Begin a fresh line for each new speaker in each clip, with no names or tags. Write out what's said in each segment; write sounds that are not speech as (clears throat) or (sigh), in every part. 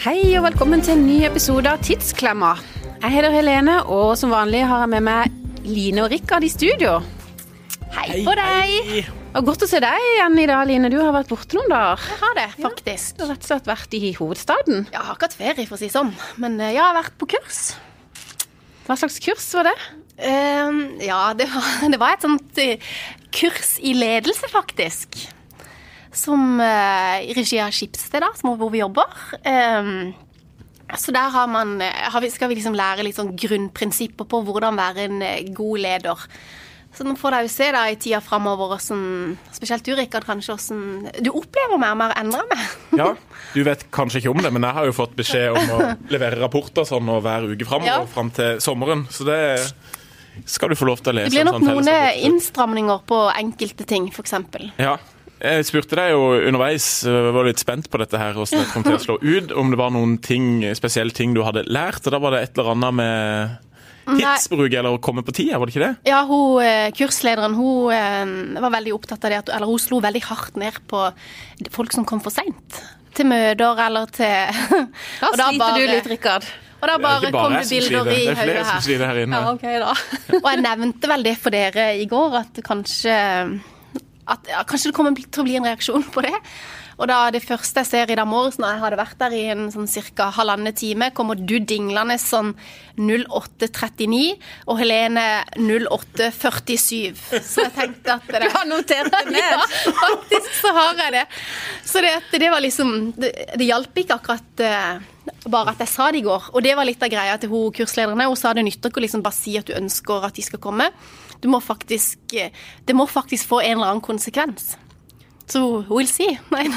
Hei og velkommen til en ny episode av Tidsklemma. Jeg heter Helene, og som vanlig har jeg med meg Line og Rikard i studio. Hei på deg!
hei.
Og godt å se deg igjen i dag, Line. Du har vært borte noen dager.
Jeg har det, faktisk.
Du har rett og slett vært i hovedstaden.
Jeg har ikke hatt ferie, for å si det sånn, men eh, jeg har vært på kurs.
Hva slags kurs var det?
Ehm, ja, det var, (laughs) det var et sånt eh, kurs i ledelse, faktisk. Som eh, i regi av Skipsted, da, som er hvor vi jobber. Ehm, så der har man, eh, har vi, skal vi liksom lære litt sånn grunnprinsipper på hvordan være en eh, god leder. Så nå får dere jo se da i tida framover, spesielt du, Rikard, kanskje, hvordan du opplever mer og mer endrer meg.
Ja, Du vet kanskje ikke om det, men jeg har jo fått beskjed om å levere rapporter sånn og hver uke framover
Ja.
fram til sommeren. Så det skal du få lov til å lese.
Det blir
en
nok
sånn
noen eh,
fellesrapport.
innstramninger på enkelte ting, f.eks.
Ja. Jeg spurte deg jo underveis, jeg var litt spent på dette her, hvordan det kom til å slå ut, om det var noen ting, spesielle ting du hadde lært. Og da var det et eller annet med tidsbruk eller å komme på tida, var det ikke det?
Ja, hun, eh, kurslederen hun eh, var veldig opptatt av det, at, eller hun slo veldig hardt ned på folk som kom for seint. Til møter eller til
Da
(laughs) Og
sliter du litt, Rikard.
Og da
Det er
bare
ikke bare
kom det
jeg som
bilder i
sliter, det er
hodet
flere som
her.
sliter her inne.
ok, da.
Og jeg nevnte vel det for dere i går, at kanskje at, ja, Kanskje det kommer til å bli en reaksjon på det. Og da det første jeg ser i dag morges, når jeg hadde vært der i en sånn ca. halvannen time, kommer du dinglende sånn 08.39 og Helene 08.47. Så jeg tenkte at det
(laughs) Du har notert det ned.
ja, faktisk så har jeg det. Så det, at det var liksom Det, det hjalp ikke akkurat eh, bare at jeg sa det i går. Og det var litt av greia til hun kurslederne. Hun sa det nytter ikke å liksom bare si at du ønsker at de skal komme. Du må faktisk eh, Det må faktisk få en eller annen konsekvens. Så hun vil si. (laughs) Nei,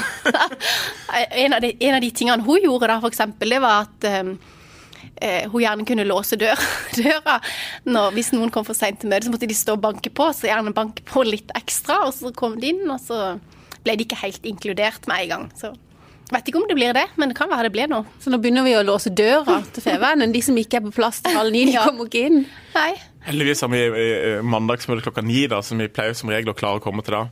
en, av de, en av de tingene hun gjorde da, for eksempel, det var at eh, eh, hun gjerne kunne låse dør, (laughs) døra. Når, hvis noen kom for seint til møtet, så måtte de stå og banke på. Så gjerne banke på litt ekstra, og så kom de inn, og så ble de ikke helt inkludert med en gang. Så jeg vet ikke om det blir det, men det kan være det blir noe.
Så nå begynner vi å låse døra til Fevennen. De som ikke er på plass til halv ni, de
Ja.
kommer ikke inn.
Nei.
Heldigvis har vi eh, mandagsmøte klokka ni, da, som vi pleier som regel å klare å komme til da.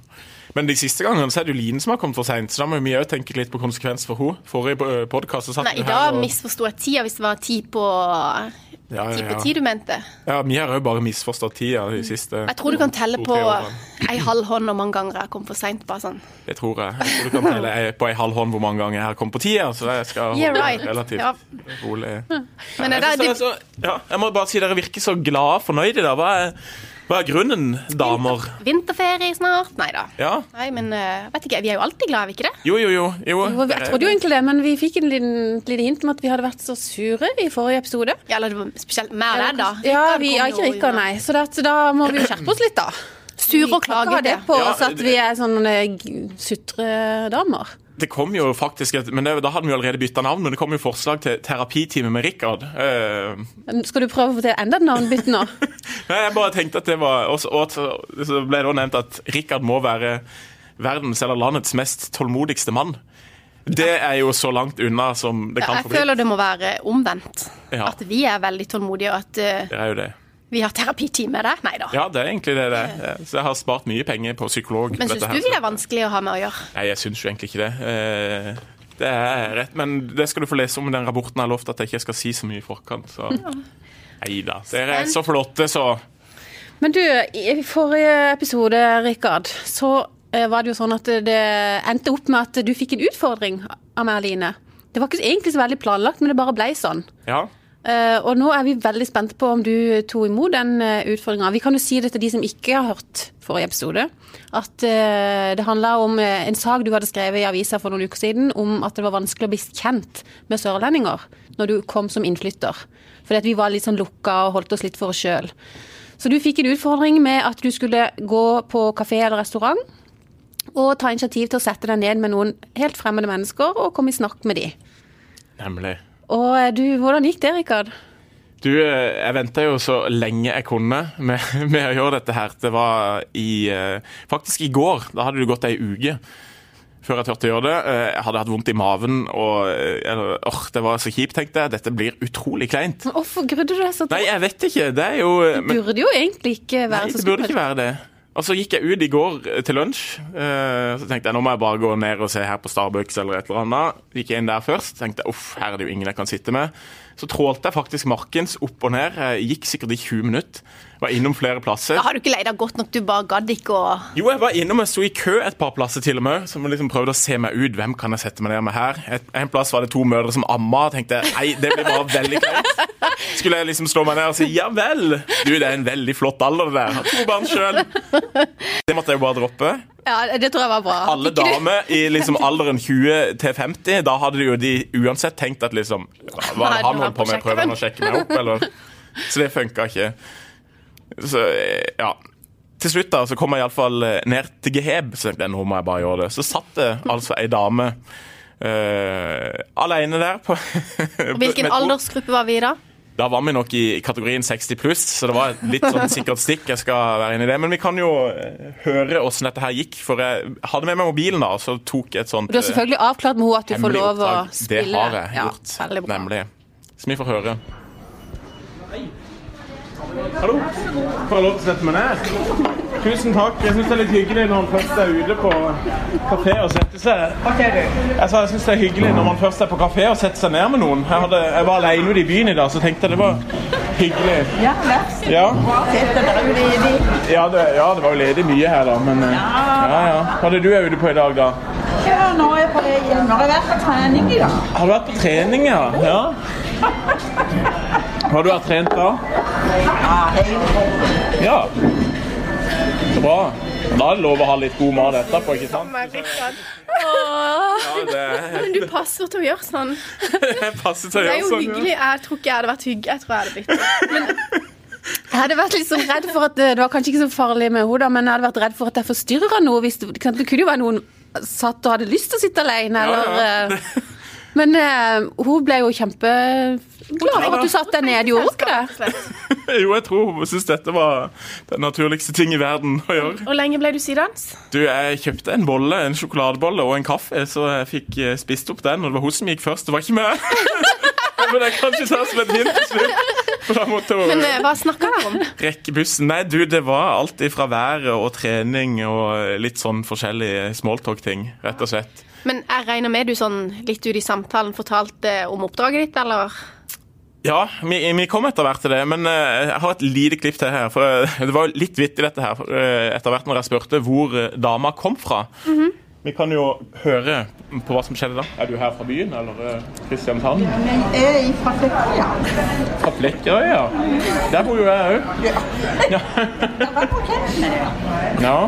Men de siste gangene så er det jo Line som har kommet for seint, så da må vi òg tenke litt på konsekvens for henne. Forrige podkast satt
Nei,
du
I dag
og-
misforsto jeg tida, hvis det var ti på
ja,
ti
ja,
på ti
ja.
du mente.
ja, vi har òg bare misforstått tida de siste
Mm. Jeg tror du kan telle på
to-tre årene.
ei halv hånd hvor mange ganger jeg kom for seint. Bare sånn.
Det tror jeg. Jeg tror du
(laughs)
kan telle ei- på ei halv hånd hvor mange ganger jeg har kommet på tida, så jeg skal holde
Yeah,
meg
right.
relativt
Ja.
rolig.
Men
Jeg,
det,
synes
det,
dere er så, ja, jeg må bare si dere virker så glade og fornøyde i dag. Hva er, hva er grunnen, damer?
Vinterferie snart? Nei da.
Ja.
Nei, men eh, vet ikke, vi er jo alltid glad, er vi ikke det?
Jo, jo, jo. jo.
Jo, Jeg
dere-
trodde jo egentlig det, men vi fikk en liten, et lite hint om at vi hadde vært så sure i forrige episode.
Ja, eller det var spesielt mer
Ja,
der, da.
Ja,
Rikard
vi er
kom jo
ikke
og gjorde-
rikere, nei. Så, det, at- så da må vi jo skjerpe oss litt, da.
Sur og
Vi kan ikke ha
klagete.
det på
Ja,
oss at vi er sånne g- sutredamer.
Det kom jo faktisk et, men det, Da hadde vi jo allerede bytta navn, men det kom jo forslag til terapitime med Rikard. Eh,
Skal du prøve å få til enda et navnbytte nå?
nei, jeg bare tenkte at det var Og så, og så- så ble det også nevnt at Rikard må være verdens eller landets mest tålmodigste mann. Det er jo så langt unna som det
Ja,
kan
Jeg
få bli.
føler det må være omvendt.
Ja.
At vi er veldig tålmodige, og at eh,
Det er jo det.
vi har terapitime der. Nei da.
Ja, det er egentlig det det er. Så jeg har spart mye penger på psykolog. på
Men syns
dette
du
her,
vi
så-
er vanskelig å ha med å gjøre?
Nei, jeg syns jo egentlig ikke det. Eh, Det er rett, men det skal du få lese om i den rapporten jeg har lovt at jeg ikke skal si så mye i forkant. Så. Nei da. Dere er så flotte, så.
(laughs) Men du, i forrige episode, Rikard, så eh, var det jo sånn at det endte opp med at du fikk en utfordring av meg, Line. Det var ikke egentlig så veldig planlagt, men det bare blei sånn.
Ja.
Eh, og nå er vi veldig spente på om du tok imot den uh, utfordringa. Vi kan jo si det til de som ikke har hørt forrige episode, at eh, det handla om eh, en sak du hadde skrevet i avisa for noen uker siden om at det var vanskelig å bli kjent med sørlendinger når du kom som innflytter. Fordi at vi var litt sånn lukka og holdt oss litt for oss sjøl. Så du fikk en utfordring med at du skulle gå på kafé eller restaurant og ta initiativ til å sette deg ned med noen helt fremmede mennesker og komme i snakk med de.
Nemlig.
Og eh, du, hvordan gikk det, Rikard?
Du, eh, jeg venta jo så lenge jeg kunne med, (laughs) med å gjøre dette her. Det var i eh, Faktisk i går. Da hadde det gått ei uke før jeg turte å gjøre det. Eh, Jeg hadde hatt vondt i maven og eh, eller, åh, Det var så kjipt, tenkte jeg. Dette blir utrolig kleint.
Men Hvorfor grudde du deg så til?
Nei, jeg vet ikke. Det er jo men,
burde jo egentlig ikke være
Nei,
så
det burde
skummelt.
ikke være det. Og så gikk jeg ut i går eh, til lunsj. eh, Så tenkte jeg nå må jeg bare gå ned og se her på Starbucks eller et eller annet. Gikk jeg inn der først. Tenkte jeg, uff, her er det jo ingen jeg kan sitte med. Så trålte jeg faktisk markens opp og ned. Jeg gikk sikkert i 20 minutter. Var innom flere plasser.
Da har du ikke leid deg godt nok, du bare gadd ikke å
Jo, jeg var innom og sto i kø et par plasser til og med, som liksom prøvde å se meg ut. Hvem kan jeg sette meg ned med her? Et, en plass var det to mødre som amma, og tenkte jeg, nei, det blir bare veldig kleint. Skulle jeg liksom slå meg ned og si ja vel? Du, det er en veldig flott alder det der. Har to barn sjøl. Det måtte jeg jo bare droppe.
Ja, det tror jeg var bra.
Alle damer i liksom alderen 20 til 50, da hadde jo de uansett tenkt at liksom
Hva
Hva er
er
det
det
han
han
holder på med?
sjekker
Prøver
vel?
han å sjekke meg opp, eller? Så det funka ikke. Så ja. Til slutt da, så kom jeg iallfall eh, ned til Geheb. Så tenkte jeg, nå må jeg bare gjøre det. Så satt det altså ei dame uh, aleine der. På,
Hvilken
med et bord.
aldersgruppe var vi i da?
Da var vi nok i kategorien 60 pluss, så det var et litt sånn sikkert stikk. jeg skal være inne i det. Men vi kan jo eh, høre åssen dette her gikk, for jeg hadde med meg mobilen da, og så tok jeg et sånt
Du har selvfølgelig avklart med henne at du
eh,
får
hemmelig
lov å
oppdrag.
spille.
Det har jeg gjort,
Ja, veldig bra.
nemlig. Som vi får høre. Hallo. Får jeg lov til å sette meg ned? Tusen takk. Jeg syns det er litt hyggelig når man først er ute på kafé og setter seg Jeg sa jeg syns det er hyggelig når man først er på kafé og setter seg ned med noen. Jeg, hadde, jeg var alene ute i byen i dag, så tenkte jeg det var hyggelig.
Ja, vær
Ja,
så
ja, det, ja det var jo ledig mye her, da, men eh, Ja, ja. Hva er det du er ute på i dag, da?
god. Nå er jeg på vei hjem. Nå har jeg vært på trening i dag.
Har du vært på trening, ja? ja. Har du vært trent da?
Ja, helt bra.
Ja. Så bra. Da er det lov å ha litt god mat etterpå, ikke sant? Ja, det
Men du passer til å gjøre sånn.
Jeg passer til å
Det er
gjøre
jo
sånn.
hyggelig. Jeg tror ikke jeg hadde vært hygg. Jeg tror jeg hadde blitt det.
Jeg hadde vært litt sånn redd for at Det var kanskje ikke så farlig med henne, da, men jeg hadde vært redd for at jeg forstyrra noe. Hvis det, ikke sant? det kunne jo være noen satt og hadde lyst til å sitte alene,
Ja,
eller
ja.
eh, Men eh, hun ble jo kjempeglad for at du satt deg ned. Gjorde hun ikke det?
(laughs) Jo, jeg tror hun syns dette var den naturligste ting i verden å gjøre.
Hvor lenge ble du sidans?
Du, jeg kjøpte en bolle, en sjokoladebolle og en kaffe, så jeg fikk eh, spist opp den. Og det var hun som gikk først, det var ikke meg. (laughs) Men jeg kan ikke ta som et hint til slutt. For da måtte hun
Men eh, hva snakka dere om?
rekke bussen. Nei, du, det var alt ifra været og trening og litt sånn forskjellige smalltalk-ting, rett og slett.
Men jeg regner med du sånn litt ut i samtalen fortalte eh, om oppdraget ditt, eller?
Ja, vi, vi kom etter hvert til det, men eh, jeg har et lite klipp til her. For eh, det var jo litt vittig dette her, for, eh, etter hvert når jeg spurte hvor eh, dama kom fra. Vi kan jo høre på hva som skjedde da. Mhm. Er du her fra byen, eller eh, Kristiansand?
Men jeg er fra Flekkøya.
Fra Flekkerøya? Der bor jo jeg òg.
Jeg var på Kempen.
(laughs) Ja.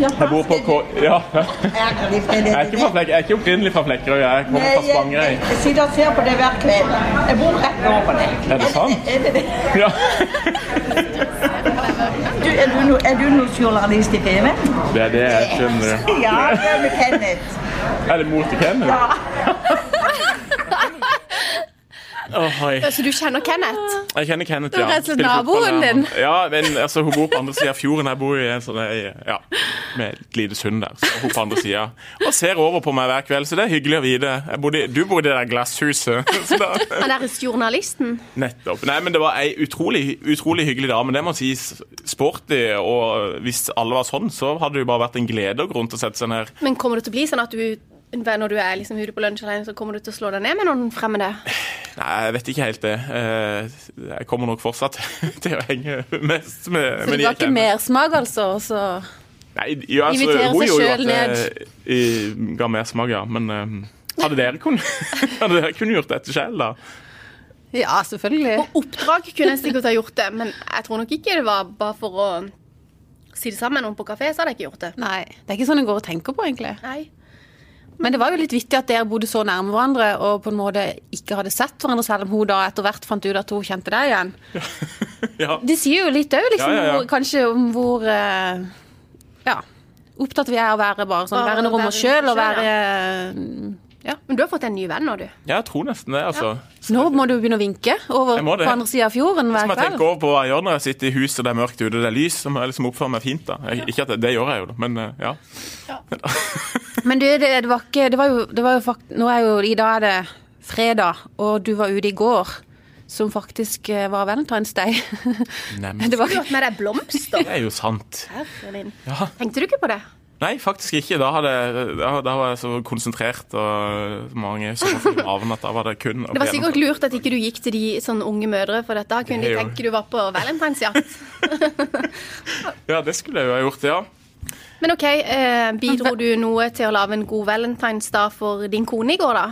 Jeg bor på K... Ja. Jeg er ikke, fra Flek jeg er ikke opprinnelig fra Flekkerøy, jeg kommer fra Spangereid.
Jeg sitter og ser på det hver kveld. Jeg bor rett over det.
Er det sant?
(laughs) Er det det?
Ja.
Du, er, du no, er du noen journalist i TV?
Det er det jeg skjønner.
Ja, det er med Kenneth.
Er det mor til Kenneth?
Ja.
Åh, hei.
Så du kjenner Kenneth?
Jeg kjenner Kenneth,
Du er
ja.
rett og slett
Spiller fotball
naboen
der,
din.
han. Ja, men altså, hun bor på andre siden av fjorden. Jeg bor i en sånn ei- ja, med et lite sund der. Så hun på andre siden. Og ser over på meg hver kveld, så det er hyggelig å vite. Jeg bodde, i- du bor i det der glasshuset. (laughs) Så da,
Han der journalisten?
nettopp. Nei, men det var ei utrolig, utrolig hyggelig dame. Det må sies sporty, og hvis alle var sånn, så hadde det jo bare vært en glede og grunn til å sette seg ned.
Men kommer det til å bli sånn at du når du er liksom ute på lunsj alene, så kommer du til å slå deg ned med noen fremmede?
Nei, jeg vet ikke helt det. Eh, Jeg kommer nok fortsatt (laughs) til å henge mest med,
Så det
med de
var
jeg
ikke
kjenner.
mersmak, altså? Så.
Nei, jo, altså,
Invitere
hun
seg
gjorde jo
selv
at det, i- ga mersmak, ja. Men eh, hadde dere kun- (laughs) hadde dere kunnet gjort dette selv, da? (laughs)
Ja, selvfølgelig.
På oppdrag kunne jeg sikkert ha gjort det, men jeg tror nok ikke det var bare for å si det sammen med noen på kafé, så hadde jeg ikke gjort det.
Nei, det er ikke sånn en går og tenker på, egentlig.
Nei.
Men det var jo litt vittig at dere bodde så nærme hverandre og på en måte ikke hadde sett hverandre, selv om hun da etter hvert fant ut at hun kjente deg igjen.
Ja.
Det sier jo litt òg, liksom,
Ja, ja, ja.
Hvor, kanskje om hvor eh, Ja. Opptatt vi er av å være bare sånn,
Bare
være
å
noe om
være
oss sjøl og
seg selv,
være
Men du har fått en ny venn nå, du.
Ja, jeg tror nesten det, altså.
Nå må du begynne å vinke over
Jeg må
på
det.
andre sida av fjorden
Så
hver
må jeg tenke
kveld.
over på hva jeg gjør når jeg sitter i huset, det er mørkt ute, det er lys. Så må jeg liksom oppføre meg fint, da. Jeg, ikke at det, det gjør jeg jo, da, men eh, ja.
Men du, det, det var ikke Det var jo, det var jo fakt... Nå er jo I dag er det fredag, og du var ute i går. som faktisk eh, var Valentine's Day. (laughs)
Nemlig.
det var,
Du har hatt med deg blomster.
(laughs) Det er jo sant.
Herre min.
Ja.
Tenkte du ikke på det?
Nei, faktisk ikke. Da, hadde, da, da var jeg så konsentrert og mange sommerfuglavn at da var det kun å
Det var
bli
sikkert lurt at ikke du gikk til de sånn unge mødre, for dette kunne
Det
de
er jo-
tenke du var på valentinsjakt.
gjennomført. Ja, det skulle jeg jo ha gjort, ja.
Men OK, eh, bidro du noe til å lage en god valentinsdag for din kone i går, da?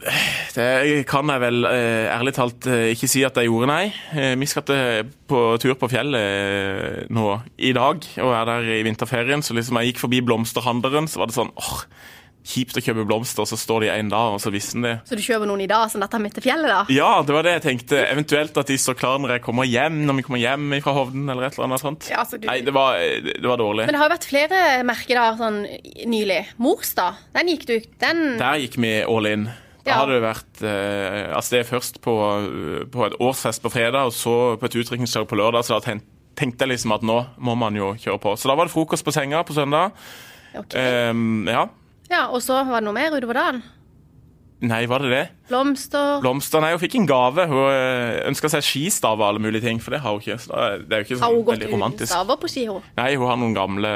Det kan jeg vel eh, ærlig talt eh, ikke si at jeg gjorde, nei. Eh, Vi skal til på tur på fjellet eh, nå i dag, og er der i vinterferien. Så liksom jeg gikk forbi blomsterhandleren, så var det sånn åh, kjipt å kjøpe blomster, og så står de en dag, og så visste de.
Så du kjøper noen i dag, sånn at han midt til fjellet, da?
Ja, det var det jeg tenkte. Eventuelt at de står klar når jeg kommer hjem, når vi kommer hjem fra Hovden, eller et eller annet sånt.
Ja, altså, du-
Nei, det var, eh, det var dårlig.
Men det har jo vært flere merkedager sånn nylig. Morsdag, den gikk du Den
Der gikk vi all in. Da
Ja.
hadde det vært eh, Altså, det er først på, eh, på et årsfest på fredag, og så på et utdrikningslag på lørdag, så da ten- tenkte jeg liksom at nå må man jo kjøre på. Så da var det frokost på senga på søndag.
Ok.
Ehm, ja.
Ja, og så var det noe mer utover dagen.
Nei, var det det?
Blomster
Blomster? Nei, hun fikk en gave. Hun ønska seg skistav og alle mulige ting, for det har hun ikke. Så da- det er jo ikke
Har
sånn
hun gått
veldig
uten
romantisk.
staver på ski, hun?
Nei, hun har noen gamle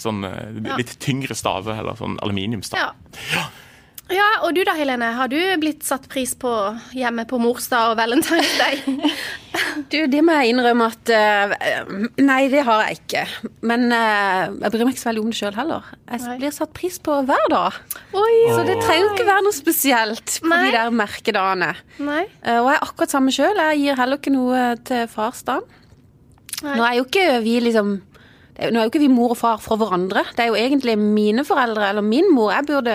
sånn eh,
Ja.
litt tyngre staver, eller sånn aluminiumstav.
Ja. ja. Og du da, Helene. Har du blitt satt pris på hjemme på morsdag og Valentine's Day?
Du, det må jeg innrømme at eh, Nei, det har jeg ikke. Men eh, jeg bryr meg ikke så veldig om det sjøl heller. Jeg
Nei.
blir satt pris på hver dag.
(laughs) Oi,
Så det trenger jo ikke være noe spesielt på
Nei.
de der merkedagene.
Nei.
Eh, Og jeg er akkurat samme sjøl. Jeg gir heller ikke noe eh, til farsdagen.
Nei.
Nå er jo ikke vi liksom det er jo- Nå er jo ikke vi mor og far fra hverandre. Det er jo egentlig mine foreldre eller min mor jeg burde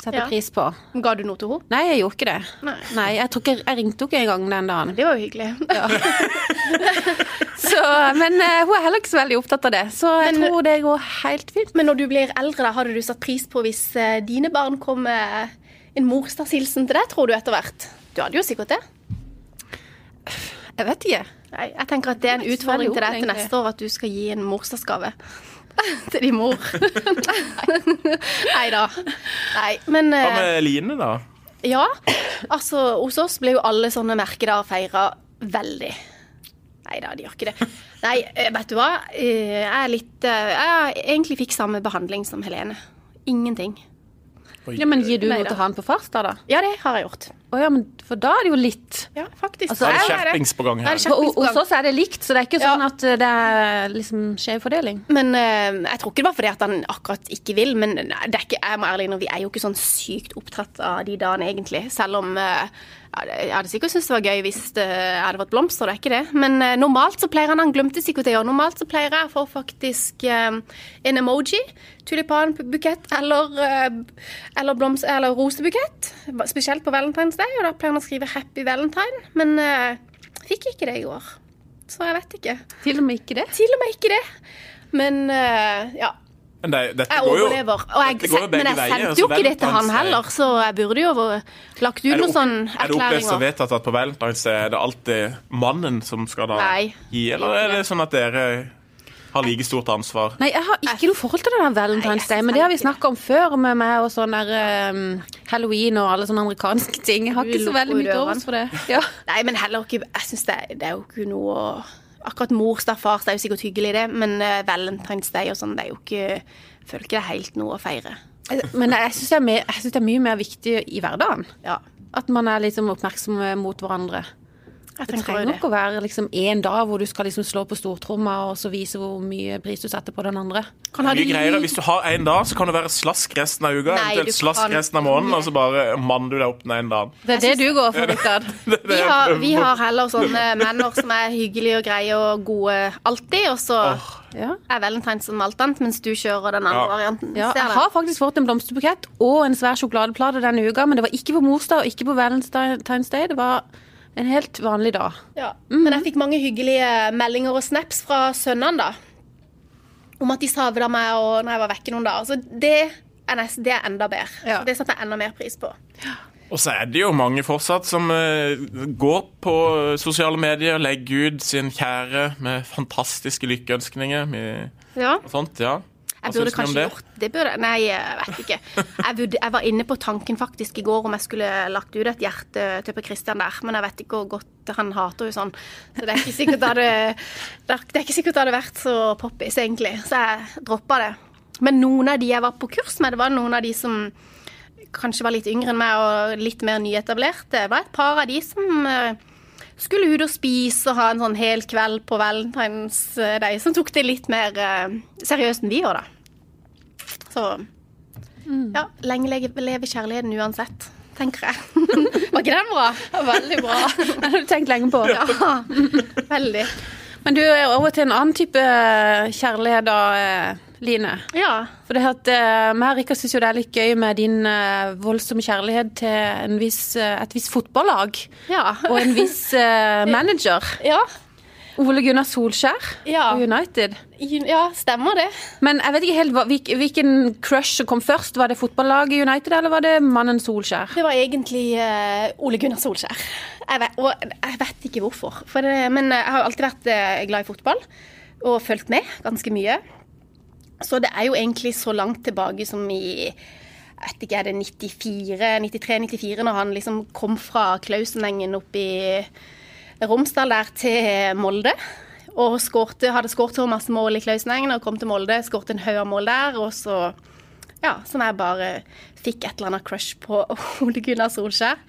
sette
Ja.
pris på.
Ga du noe til henne?
Nei, jeg gjorde ikke det.
Nei.
jeg, tror ikke, jeg ringte jo ikke engang den dagen.
Det var jo hyggelig.
Så, men eh, hun er heller ikke så veldig opptatt av det, så jeg
Men-
tror det går helt fint.
(laughs) Men når du blir eldre, da, hadde du satt pris på hvis eh, dine barn kom med en morsdagshilsen til deg, tror du, etter hvert? Du hadde jo sikkert det.
Jeg vet ikke.
Nei, jeg tenker at det er en
ikke så veldig
utfordring til deg
ung,
til
egentlig.
neste år at du skal gi en morsdagsgave (laughs) til din mor. Nei (laughs) da. Nei, men
Hva
eh,
med Line, da?
ja. Altså, hos oss ble jo alle sånne merkedager feira veldig. Nei da, de gjør ikke det. Nei, eh, vet du hva. Eh, Jeg er litt eh, Jeg egentlig fikk samme behandling som Helene. Ingenting.
Oi.
Ja, men Gir du
Nei
noe
da.
til han på farsdag, da?
Ja, det har jeg gjort.
Å ja, men for da er det jo litt.
Ja, faktisk.
Altså,
Da er det
Jeg-
skjerpings på gang
Da er
her.
For
det skjerpings på
hos
gang.
oss er det likt, så det er ikke
Ja.
sånn at eh, det er liksom skjev fordeling.
Men eh, jeg tror ikke det var fordi at han akkurat ikke vil. Men det er ikke, jeg må ærlig innrømme, vi er jo ikke sånn sykt opptatt av de dagene, egentlig. Selv om eh, jeg hadde sikkert syntes det var gøy hvis det hadde vært blomster, det er ikke det. Men eh, normalt så pleier han Han glemte sikkert det i år. Normalt så pleier jeg å få faktisk eh, en emoji, tulipanbukett eller, eh, eller, blomst, eller rosebukett. Spesielt på Valentine's Day, og da pleier han å skrive 'Happy Valentine'. Men eh, fikk ikke det i år. Så jeg vet ikke.
Til og med ikke det.
Til og med ikke det. Men eh, ja.
Men det, dette
Jeg
går jo,
overlever. Og jeg,
dette går jo begge
men jeg
veier,
sendte
altså,
jo ikke det til han
Valentine's Day.
heller, så jeg burde jo ha lagt ut
Er det
noen
opp-
sånn
Er det opplest og
erklæringer.
vedtatt at på Valentine's Day er det alltid mannen som skal da
Nei.
gi, eller er det sånn at dere har like stort ansvar?
Nei, jeg har ikke noe forhold til det der
Nei,
Valentine's
jeg
Day, men
synes
det har vi
ikke
snakka om før med meg og sånn der ehm, halloween og alle sånne amerikanske ting. Jeg har
Du
ikke så
lukker
veldig mye til
dørene.
overs for det. Ja.
Nei, men heller ikke Jeg synes det, det er jo ikke noe Akkurat morsdag, farsdag er jo sikkert hyggelig, det, men eh, Valentine's Day og sånn, det er jo ikke jeg Føler ikke det er helt noe å feire.
Men jeg syns det, er mer- jeg synes det er mye mer viktig i hverdagen.
Ja.
At man er liksom oppmerksom mot hverandre.
Jeg
Det
tenker jo
trenger
det.
ikke å være liksom én dag hvor du skal liksom slå på stortromma og så vise hvor mye pris du setter på den andre.
Kan ha
Mye
det
greier.
litt-
Hvis du har én dag, så kan det være slask resten av uka,
Nei, du
eventuelt slask
kan
resten av måneden, og så bare manner du deg opp den ene dagen. (laughs)
Det er det du går for, Rikard.
Vi har, vi har heller sånne menner som er hyggelige og greie og gode alltid, og så
Åh.
(laughs) Ja.
er valentines som alt annet, mens du kjører den andre
Ja.
varianten.
Ja,
Ser
jeg
det?
har faktisk fått en blomsterbukett og en svær sjokoladeplate denne uka, men det var ikke på morsdag og ikke på Valentine's Day. Det var en helt vanlig dag. (laughs)
Ja. Men jeg fikk mange hyggelige meldinger og snaps fra sønnene, da. Om at de savna meg og når jeg var vekke noen dager. Så det er, nest, det er enda bedre.
Ja.
Så Det setter jeg enda mer pris på.
Og så er det jo mange fortsatt som eh, går på sosiale medier, legger ut sin kjære med fantastiske lykkeønskninger. Med,
Ja.
og sånt, ja.
Jeg
Hva
burde
syns du om
kanskje
det?
gjort det. Burde. Nei, jeg vet ikke. Jeg, burde, jeg var inne på tanken faktisk i går om jeg skulle lagt ut et hjerte til på Christian der, men jeg vet ikke hvor godt han hater jo sånn. Så det er ikke sikkert det hadde, det er- det er ikke sikkert det hadde vært så poppis, egentlig. Så jeg droppa det. Men noen av de jeg var på kurs med, det var noen av de som kanskje var litt yngre enn meg og litt mer nyetablerte. Det var et par av de som eh, skulle ut og spise og ha en sånn hel kveld på Valentine's Day, som tok det litt mer eh, seriøst enn vi gjør, da. Så ja, lenge leve, leve kjærligheten uansett, tenker jeg. (laughs) var ikke den bra? Veldig bra.
Det har du tenkt lenge på.
(laughs) Ja, veldig.
Men du er over til en annen type kjærlighet da, eh, Line.
Ja.
For det at, eh, meg og Rikard syns jo det er litt gøy med din eh, voldsomme kjærlighet til en viss, eh, et visst fotballag
Ja.
(laughs) og en viss eh, manager.
ja.
Ole Gunnar Solskjær
Ja.
og United.
Ja, stemmer det.
Men jeg vet ikke helt hva, hvil- hvilken crush som kom først. Var det fotballaget United, eller var det mannen Solskjær?
Det var egentlig eh, Ole Gunnar Solskjær. Jeg vet, og jeg vet ikke hvorfor. For det, men jeg har jo alltid vært eh, glad i fotball og fulgt med ganske mye. Så det er jo egentlig så langt tilbake som i jeg vet ikke, er det 94, 93-94, når han liksom kom fra Klausenengen opp i Romsdal der til Molde. Og skårte, hadde skåret så masse mål i Klausenengen og kom til Molde, skåret en haug av mål der. Og så, ja, som jeg bare fikk et eller annet crush på (laughs) Ole Gunnar Solskjær.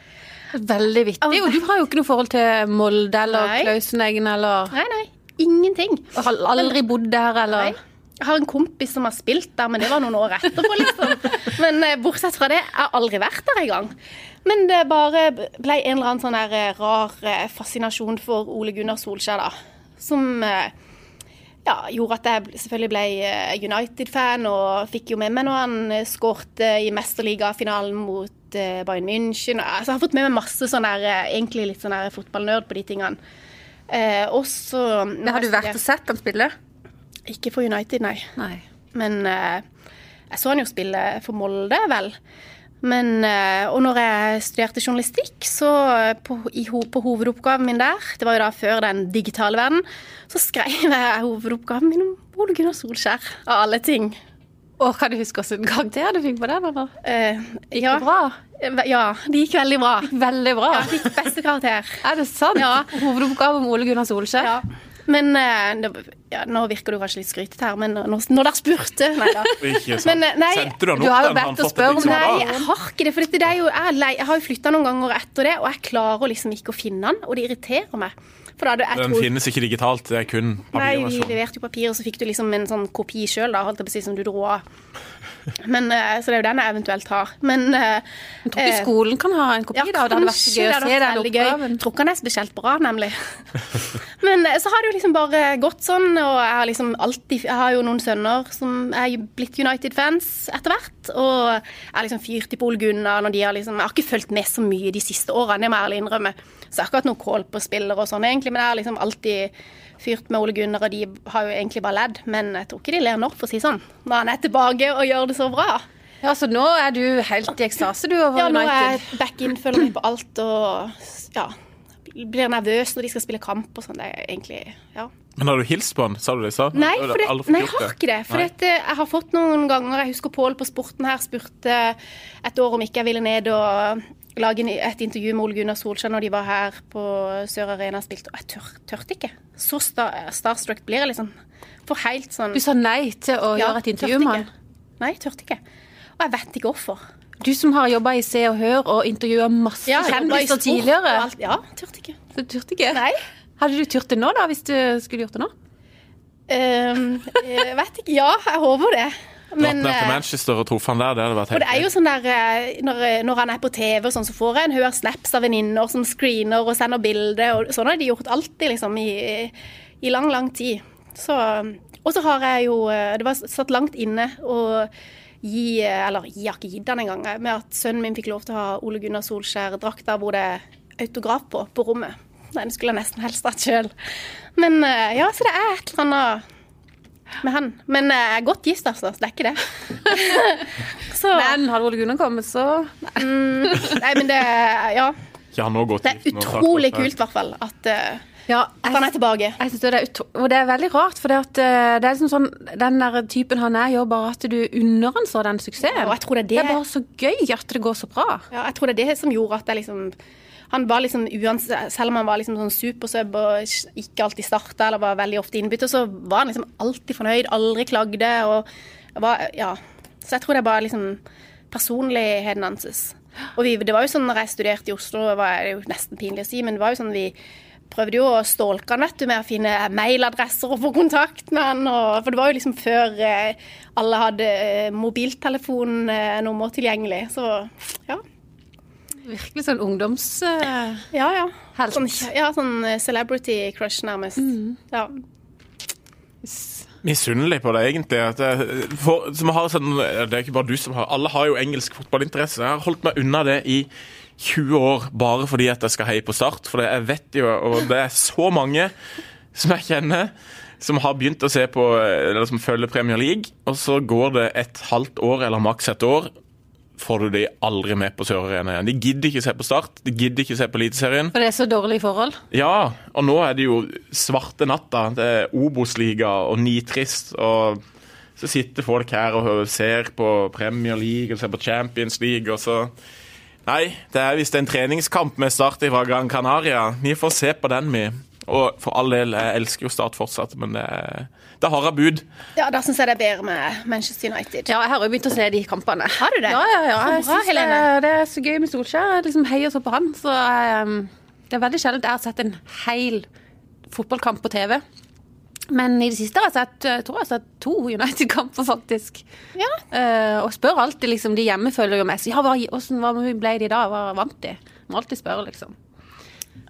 Veldig vittig. Og du har jo ikke noe forhold til Molde eller
Nei.
Klauseneggen eller
Nei, nei, ingenting.
og har aldri bodd der eller
Nei. Jeg har en kompis som har spilt der, men det var noen år etterpå, liksom. Men eh, bortsett fra det, jeg har aldri vært der engang. Men det bare ble en eller annen sånn der eh, rar eh, fascinasjon for Ole Gunnar Solskjær, da. Som eh, ja, gjorde at jeg bl- selvfølgelig ble eh, United-fan, og fikk jo med meg når han eh, skårte i mesterligafinalen mot eh, Bayern München. Altså, jeg har fått med meg masse sånn der, eh, egentlig litt sånn der fotballnerd på de tingene. Eh, også,
Men Har du vært og sett dem spille?
Ikke for United, nei.
Nei.
Men eh, jeg så han jo spille for Molde, vel. Men, eh, og når jeg studerte journalistikk, så eh, på, i, ho- på hovedoppgaven min der, det var jo da før den digitale verden, så skrev jeg hovedoppgaven min om Ole Gunnar Solskjær, av alle ting.
Og kan du huske hvilken karakter du fikk på den? eller?
Eh, ja, Eh,
Bra.
ja, det gikk veldig bra.
Veldig bra.
Jeg fikk beste karakter.
Er det sant?
Ja.
Hovedoppgave om Ole Gunnar Solskjær.
Ja. Men eh, det, ja, nå virker du kanskje litt skrytete her, men når, når dere spurte Nei da.
Ikke sant.
Men, eh, nei,
Sendte du han
du
opp
har jo
den?
bedt
Han
å
fattet
spørre om
liksom
Nei,
hva?
jeg har ikke det. For dette, det er jo, jeg, er lei, jeg har jo flytta noen ganger etter det, og jeg klarer liksom ikke å finne den, og det irriterer meg. For da hadde jeg
Den
tror-
finnes ikke digitalt, det er kun
Nei, vi
papirversjon.
leverte jo papir, og så fikk du liksom en sånn kopi sjøl, da, holdt jeg på å si, som du dro av. Men, eh, så det er jo den jeg eventuelt har. Men eh,
Jeg tror ikke skolen kan ha en kopi, da. og Det hadde vært så
kanskje
gøy
det
å
hadde
se
vært
den
veldig
oppgaven.
Jeg Tror ikke han er spesielt bra, nemlig. (laughs) Men eh, så har det jo liksom bare gått sånn, og jeg har liksom alltid Jeg har jo noen sønner som er jo blitt United-fans etter hvert, og jeg har liksom fyrt i Pol Gunnar når de har liksom Jeg har ikke fulgt med så mye de siste årene, det må jeg ærlig innrømme. Så jeg har ikke hatt noe kål på spillere og sånn, egentlig, men jeg har liksom alltid fyrt med Ole Gunnar, og de har jo egentlig bare ledd, men jeg tror ikke de ler nå, for å si sånn. Når han er tilbake og gjør det så bra.
Ja, så nå er du helt i ekstase, du, over
Ja, nå er jeg
United.
back in, følger med på alt og ja, blir nervøs når de skal spille kamp og sånn. Det er egentlig ja.
Men har du hilst på han? Sa du det? Sa?
Nei,
Du har
for det,
aldri fått
nei, jeg
gjort
har ikke det. For
Nei.
dette, jeg har fått noen ganger Jeg husker Pål på Sporten her spurte et år om ikke jeg ville ned og lage en- et intervju med Ole Gunnar Solskjær når de var her på Sør Arena og spilte, og jeg tør, tørte ikke. Så sta, starstruck blir jeg liksom. For helt sånn
Du sa nei til å gjøre et intervju med han.
Nei, tørte ikke. Og jeg vet ikke hvorfor.
Du som har jobba i Se og Hør og intervjua masse
Ja, jeg jobbet i
kjendiser
sport
tidligere.
og alt. Ja, tørte ikke.
Du turte ikke?
Nei.
Hadde du turt det nå, da, hvis du skulle gjort det nå?
Ehm, jeg vet ikke. Ja, jeg håper det.
Dratt
Men,
ned til
eh,
Manchester og truffet han der, det hadde vært
og det er jo
helt
sånn der, eh, når, eh, når han er på TV, og sånn, så får jeg en haug av snaps av venninner som screener og sender bilder. Og sånn har de gjort alltid liksom, i, i lang, lang tid. Så, og så har jeg jo eh, Det var satt langt inne å gi eh, Eller jeg har ikke gitt den engang. eh, Med at sønnen min fikk lov til å ha Ole Gunnar Solskjær-drakta hvor det er autograf på, på rommet. Nei, det skulle jeg nesten helst hatt sjøl. Men eh, ja, så det er et eller annet med han. Men eh, jeg er godt gift, altså. Så det er ikke det. så,
Men hadde Ole Gunnar kommet, så
nei, men det Ja.
ikke han òg godt
Det er utrolig kult, i hvert fall, at, eh, at han er tilbake.
Jeg synes også det er utro og det er veldig rart, for det, at, eh, det er liksom sånn, den der typen han er, gjør bare at du unner han så den suksessen.
Og jeg tror det er det-
det er bare så gøy at det går så bra.
Ja, jeg tror det er det som gjorde at jeg liksom han var liksom, uans- Selv om han var liksom sånn supersub og ikke alltid starta eller var veldig ofte innbytter, så var han liksom alltid fornøyd, aldri klagde. og var, ja. Så jeg tror det er bare liksom personligheten hans. Og vi, det var jo sånn når jeg studerte i Oslo, var det jo nesten pinlig å si, men det var jo sånn vi prøvde jo å stalke han vet du, med å finne mailadresser og få kontakt med han. Og, for det var jo liksom før eh, alle hadde eh, mobiltelefonnummer tilgjengelig. Så ja.
Virkelig sånn ungdoms... eh,
Ja, ja.
Helt. Mm.
Sånn, ja, sånn eh, celebrity crush, nærmest. Ja.
Misunnelig på det, egentlig. At jeg, for, som har sånn, det er ikke bare du som har Alle har jo engelsk fotballinteresse. Jeg har holdt meg unna det i 20 år bare fordi at jeg skal heie på Start. For det- jeg vet jo, og det er så mange som jeg kjenner, som har begynt å se på Eller som følger Premier League, og så går det et halvt år eller maks et år. Får du de aldri med på Sør-Arena igjen. De gidder ikke se på Start, de gidder ikke se på Eliteserien.
For det er så dårlige forhold.
Ja, og nå er det jo svarte natta. Det er Obos-liga og nitrist. Og så sitter folk her og hø- ser på Premier League og ser på Champions League, og så Nei, det er visst en treningskamp med Start fra Gran Canaria. Vi får se på den, vi. Og for all del, jeg elsker jo Start fortsatt, men det er, det er harde bud.
ja, da syns jeg det er bedre med Manchester United.
Ja, jeg har jo begynt å se de kampene.
Har du det?
Ja, ja, ja.
Så
Jeg
bra,
synes det,
Helene.
det er så gøy med Solskjær. Jeg liksom heier så på han. Så ehm, det er veldig sjelden jeg har sett en hel fotballkamp på TV. Men i det siste har jeg sett, jeg tror jeg har sett to United-kamper, faktisk.
Ja.
Eh, og spør alltid, liksom. De hjemme følger jo meg. Så, ja, hva, hvordan, hva ble de da? Hva vant de? Må alltid spørre, liksom.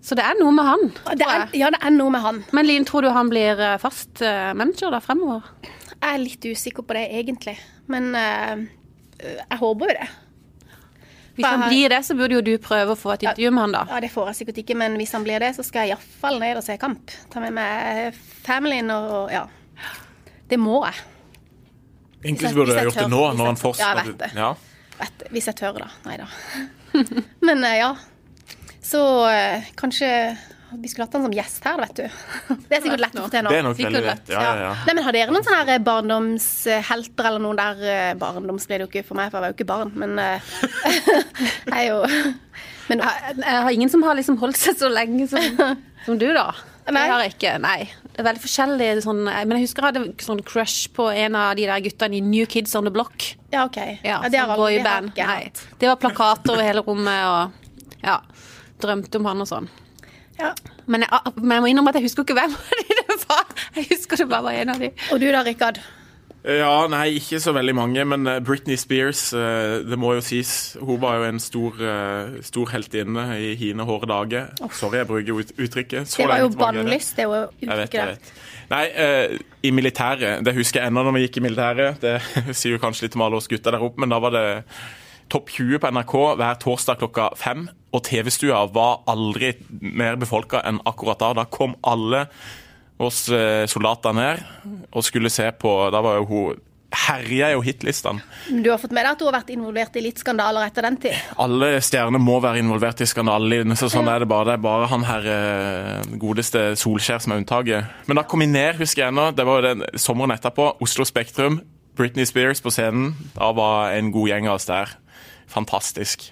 Så det er noe med han.
Det
tror
er,
jeg.
ja, det er noe med han.
Men Lien, tror du han blir eh, fast eh, manager da fremover?
Jeg er litt usikker på det, egentlig. Men eh, jeg håper jo det.
Hvis han
Bare-
blir det, så burde jo du prøve å få et intervju med han, da.
Ja, Det får jeg sikkert ikke, men hvis han blir det, så skal jeg iallfall ned og se kamp. Ta med meg familien og og- Ja. Det må jeg.
Egentlig
Hvis jeg-
så burde
hvis
jeg
jeg
gjort det
tør-
nå,
hvis
når
jeg
han
tør-
fortsatt
Ja, jeg vet det.
Ja.
Vet, du, hvis jeg tør, da. Nei da. (laughs) Men eh, ja. Så eh, kanskje vi skulle hatt han som gjest her, vet du. (laughs) Det er sikkert lett å få til nå.
Det er nok
Sikkert
veldig
rett,
lett. Ja, ja, ja.
Nei, men Har dere noen sånne her eh, barndomshelter eller noen der eh, Barndoms ble det jo ikke for meg, for jeg var jo ikke barn, men eh, (laughs) jeg er jo (laughs) Men eh,
Jeg jeg har ingen som har liksom holdt seg så lenge som, som du, da. Det
Nei.
har jeg ikke. Nei. Det er veldig forskjellig. Sånn, men jeg husker jeg hadde sånn crush på en av de der guttene i New Kids on the Block.
ja, OK.
Ja, sånn
det har aldri- det har
boyband.
ikke jeg
Nei.
hatt.
Det var plakater over hele rommet og ja, drømte om han og sånn.
Ja.
Men jeg, ah, men jeg må innrømme at jeg husker ikke hvem (laughs) av de det var. Jeg husker det bare var en av de.
Og du da, Rikard?
Ja, nei, ikke så veldig mange, men eh, Britney Spears, eh, det må jo sies. Hun var jo en stor, eh, stor heltinne i hine hårde dager. Sorry, jeg bruker ut uttrykket. Så
Det var jo
lenge tilbake er det.
bannlyst, det er jo
Jeg vet, jeg
uttrykket der.
vet. Nei, eh, i militæret, det husker jeg ennå når vi gikk i militæret. Det (laughs) sier jo kanskje litt om alle oss gutter der oppe, men da var det Topp 20 på NRK hver torsdag klokka fem. Og TV-stua var aldri mer befolka enn akkurat da. Da kom alle oss eh, soldater ned og skulle se på Da var jo hun Herja jo hitlistene.
Men Du har fått med deg at du har vært involvert i litt skandaler etter den tid?
Alle stjerner må være involvert i skandalen, så sånn er det bare. Det er bare han her eh, godeste Solskjær som er unntaket. Men da kom vi ned, husker jeg ennå. Det var jo den sommeren etterpå. Oslo Spektrum. Britney Spears på scenen. Da var en god gjeng av oss der. Fantastisk.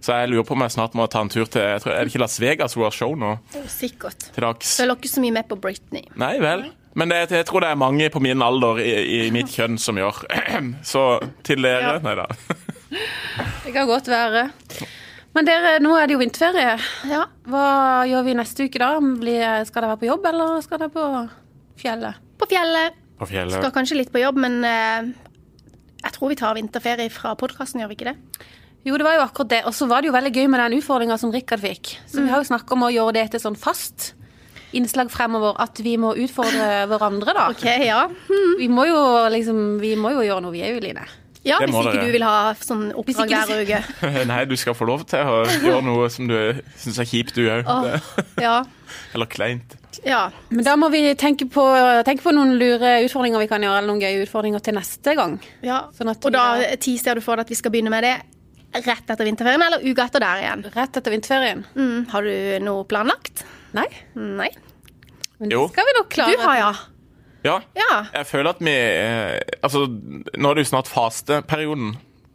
Så jeg lurer på om jeg snart må ta en tur til jeg tror, Er det ikke Las Vegas hun har show nå?
Sikkert.
Til dags?
Følger ikke så mye med på Britney.
Nei vel. Men det, jeg tror det er mange på min alder i, i mitt kjønn som gjør. (clears throat) Så til dere
Ja.
Nei (laughs) da.
Det kan godt være. Men dere, nå er det jo vinterferie.
Ja.
Hva gjør vi neste uke da? Blir, skal dere være på jobb, eller skal dere på fjellet?
På fjellet.
På fjellet.
Skal kanskje litt på jobb, men eh, jeg tror vi tar vinterferie fra podkasten, gjør vi ikke det?
Jo, det var jo akkurat det. Og så var det jo veldig gøy med den utfordringa som Rikard fikk. Så vi har jo snakka om å gjøre det til sånn fast innslag fremover, at vi må utfordre hverandre, da.
Ok, ja.
Vi må jo liksom Vi må jo gjøre noe, vi er jo, Line.
Ja,
Det
Hvis
må
ikke
dere.
du vil ha sånn oppdrag
ikke du-
hver uke.
(laughs) Nei, du skal få lov til å gjøre noe som du syns er kjipt, du òg.
Åh, Ja.
(laughs) Eller kleint.
ja.
Men da må vi tenke på, tenke på noen lure utfordringer vi kan gjøre, eller noen gøye utfordringer til neste gang.
ja.
Sånn at
Og da
vi
ti ser du for deg at vi skal begynne med det rett etter vinterferien, eller uka etter der igjen.
Rett etter vinterferien.
Mm, har du noe planlagt?
Nei.
Nei.
Men
Jo.
det skal vi nok
Du
klare.
har, ja.
Ja.
Ja.
Jeg føler at vi eh, Altså, nå er det jo snart fasteperioden.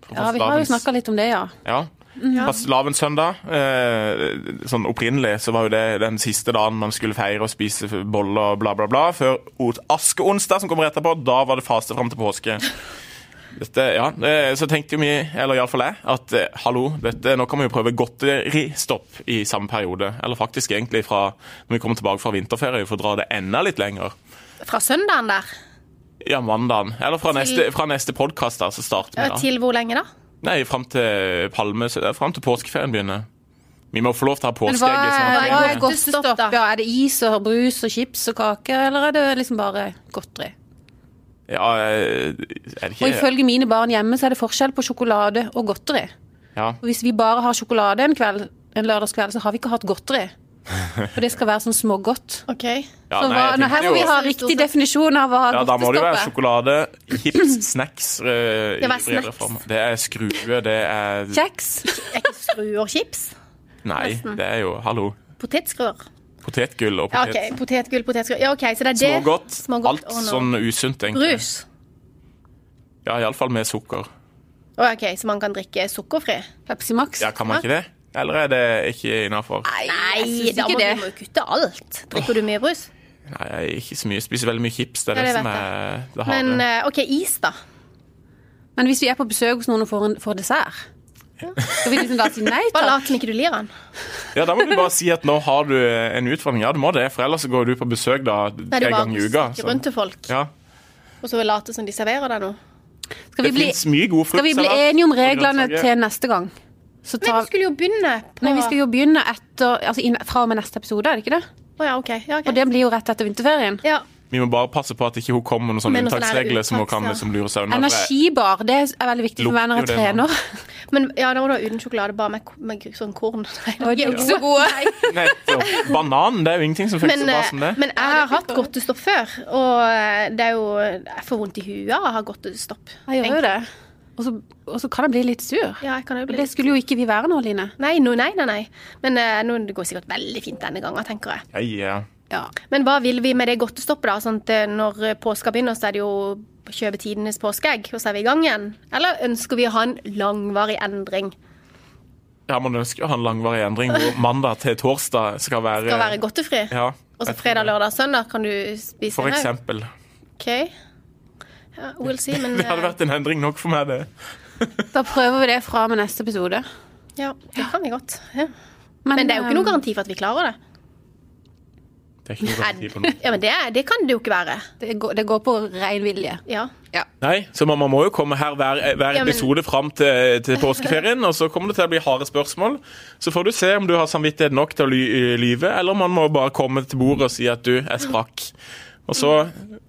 for
Ja, vi har jo
fastelavns-
snakka litt om det, ja.
Ja. Fastelavnssøndag. Eh, sånn opprinnelig så var jo det den siste dagen man skulle feire og spise boller og bla, bla, bla. Før o- askeonsdag, som kommer etterpå, da var det faste fram til påske. Dette, ja, eh, Så tenkte jo vi, eller iallfall jeg, at eh, hallo, dette, nå kan vi jo prøve godteristopp i samme periode. Eller faktisk egentlig fra når vi kommer tilbake fra vinterferie, for å dra det enda litt lenger.
Fra søndagen der?
Ja, mandagen. Eller fra neste, fra neste podkast, så starter vi
Eh,
da.
Til hvor lenge, da?
Nei, fram til palme Fram til påskeferien begynner. Vi må få lov til å ha
Men hva
påskeegg. i
er, hva er
snart.
godt-
godtestopp,
da?
da? Er det is og brus og chips og kaker, eller er det liksom bare godteri?
Ja, eh, er det
Og
ikke
ifølge mine barn hjemme så er det forskjell på sjokolade og godteri.
ja.
Og hvis vi bare har sjokolade en kveld, en lørdagskveld, så har vi ikke hatt godteri.
(laughs)
For det skal være sånn smågodt.
OK.
Ja,
så
nei,
hva,
jeg
nå, her
tenkte
må vi
jo-
ha riktig definisjon av hva
ja, da må det jo
godtestoppet
være
er.
sjokolade, chips, snacks eh, i
Det var
bredere
snacks.
form. Det er skrue, det er
Kjeks.
Er ikke skruer chips?
Nei, det er jo Hallo.
Potetskruer?
Potetgull og
Ja,
potet.
OK. Potetgull, potetskruer. Ja, OK, så det er det.
Smågodt. Alt
Å, nå.
sånn usunt, egentlig.
Brus.
Ja, iallfall med sukker.
Å, OK, så man kan drikke sukkerfri?
(laughs) Pepsi Max.
Ja, Kan man ikke det? Eller er det ikke innafor?
Nei,
synes
da
ikke
må
det.
du må jo kutte alt. Drikker du mye brus?
Nei, jeg er ikke så mye. Jeg Spiser veldig mye chips. Det
Ja,
er det
det
som
vet
er det
Men
harde.
eh, OK, is, da.
Men hvis vi er på besøk hos noen og får, en, får dessert, skal vi liksom da si nei
Bare
takk?
lat som ikke du lir den.
Ja, Da må du bare si at nå har du eh, en utfordring. Ja, du må det, for ellers så går du på besøk da
Nei,
tre
du bare
ganger i uka.
stikker
så-
rundt til folk,
altså? Ja.
og så later som de serverer deg noe.
Skal vi
Det
bli,
fins mye god frukt.
skal vi bli enige om reglene til neste gang? Så
Nei,
tar
vi skulle jo begynne på
Nei, vi skal jo begynne etter, altså inn, fra og med neste episode, er det ikke det?
Å ja, OK. Ja, ok.
Og det blir jo rett etter vinterferien.
ja.
Vi må bare passe på at ikke hun kommer med noen sånne
Med noen sånne
unntaksregler som hun kan
unntaksregler.
liksom lure seg unna. for jeg-
Energibar, det er veldig viktig for meg når jeg
Lukter jo det nå.
trener.
Men ja, da var det uten sjokolade, bare med, med sånn korn. (laughs) Nei,
Og (laughs) de er ikke så gode.
Nei, så- Banan, det er jo ingenting som funker
Men,
så bra som
eh,
det.
men jeg har hatt godtestopp før, og eh, det er jo Jeg får vondt i huet av å ha godtestopp.
Jeg gjør jo det. Og så, og så kan jeg bli litt sur.
Ja, jeg kan jo
Og
bli
det skulle jo ikke vi være nå, Line.
Nei, nå- nei, nei, nei. Men eh, nå det går sikkert veldig fint denne gangen, tenker jeg.
Ja, ja.
Ja.
Men hva vil vi med det godtestoppet, da? Sånn at eh, når påska begynner, så er det jo kjøpe tidenes påskeegg, og så er vi i gang igjen? Eller ønsker vi å ha en langvarig endring?
ja, man ønsker jo å ha en langvarig endring hvor mandag til torsdag skal være,
Skal være godtefri?
Ja,
Og så
jeg tror
fredag,
det.
lørdag, søndag kan du spise
For
en haug?
eksempel.
OK. Ja, we'll see, men
(laughs) Det hadde
eh,
vært en endring nok for meg, det.
Da prøver vi det fra med neste episode.
eh, Ja, det kan vi godt. Ja. Men det er jo ikke noen
eh,
garanti for at vi klarer det.
Det er ikke noe garanti på noe.
Ja, men det, det kan det jo ikke være.
Det går, det går på ren vilje.
Ja.
Nei, så man man må jo komme her hver, hver
Ja, men-
episode fram til, til påskeferien, og så kommer det til å bli harde spørsmål. Så får du se om du har samvittighet nok til å ly lyve, eller om man må bare komme til bordet og si at du er sprakk. Og så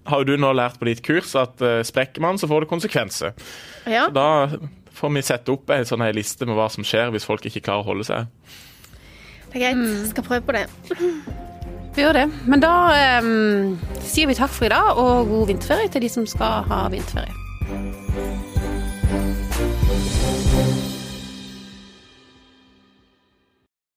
har jo du nå lært på ditt kurs at eh, sprekker man, så får det konsekvenser.
ja.
Da får vi sette opp en sånn her liste med hva som skjer hvis folk ikke klarer å holde seg.
Det er greit. Skal prøve på det.
Vi gjør det. Men da eh, sier vi takk for i dag, og god vinterferie til de som skal ha vinterferie.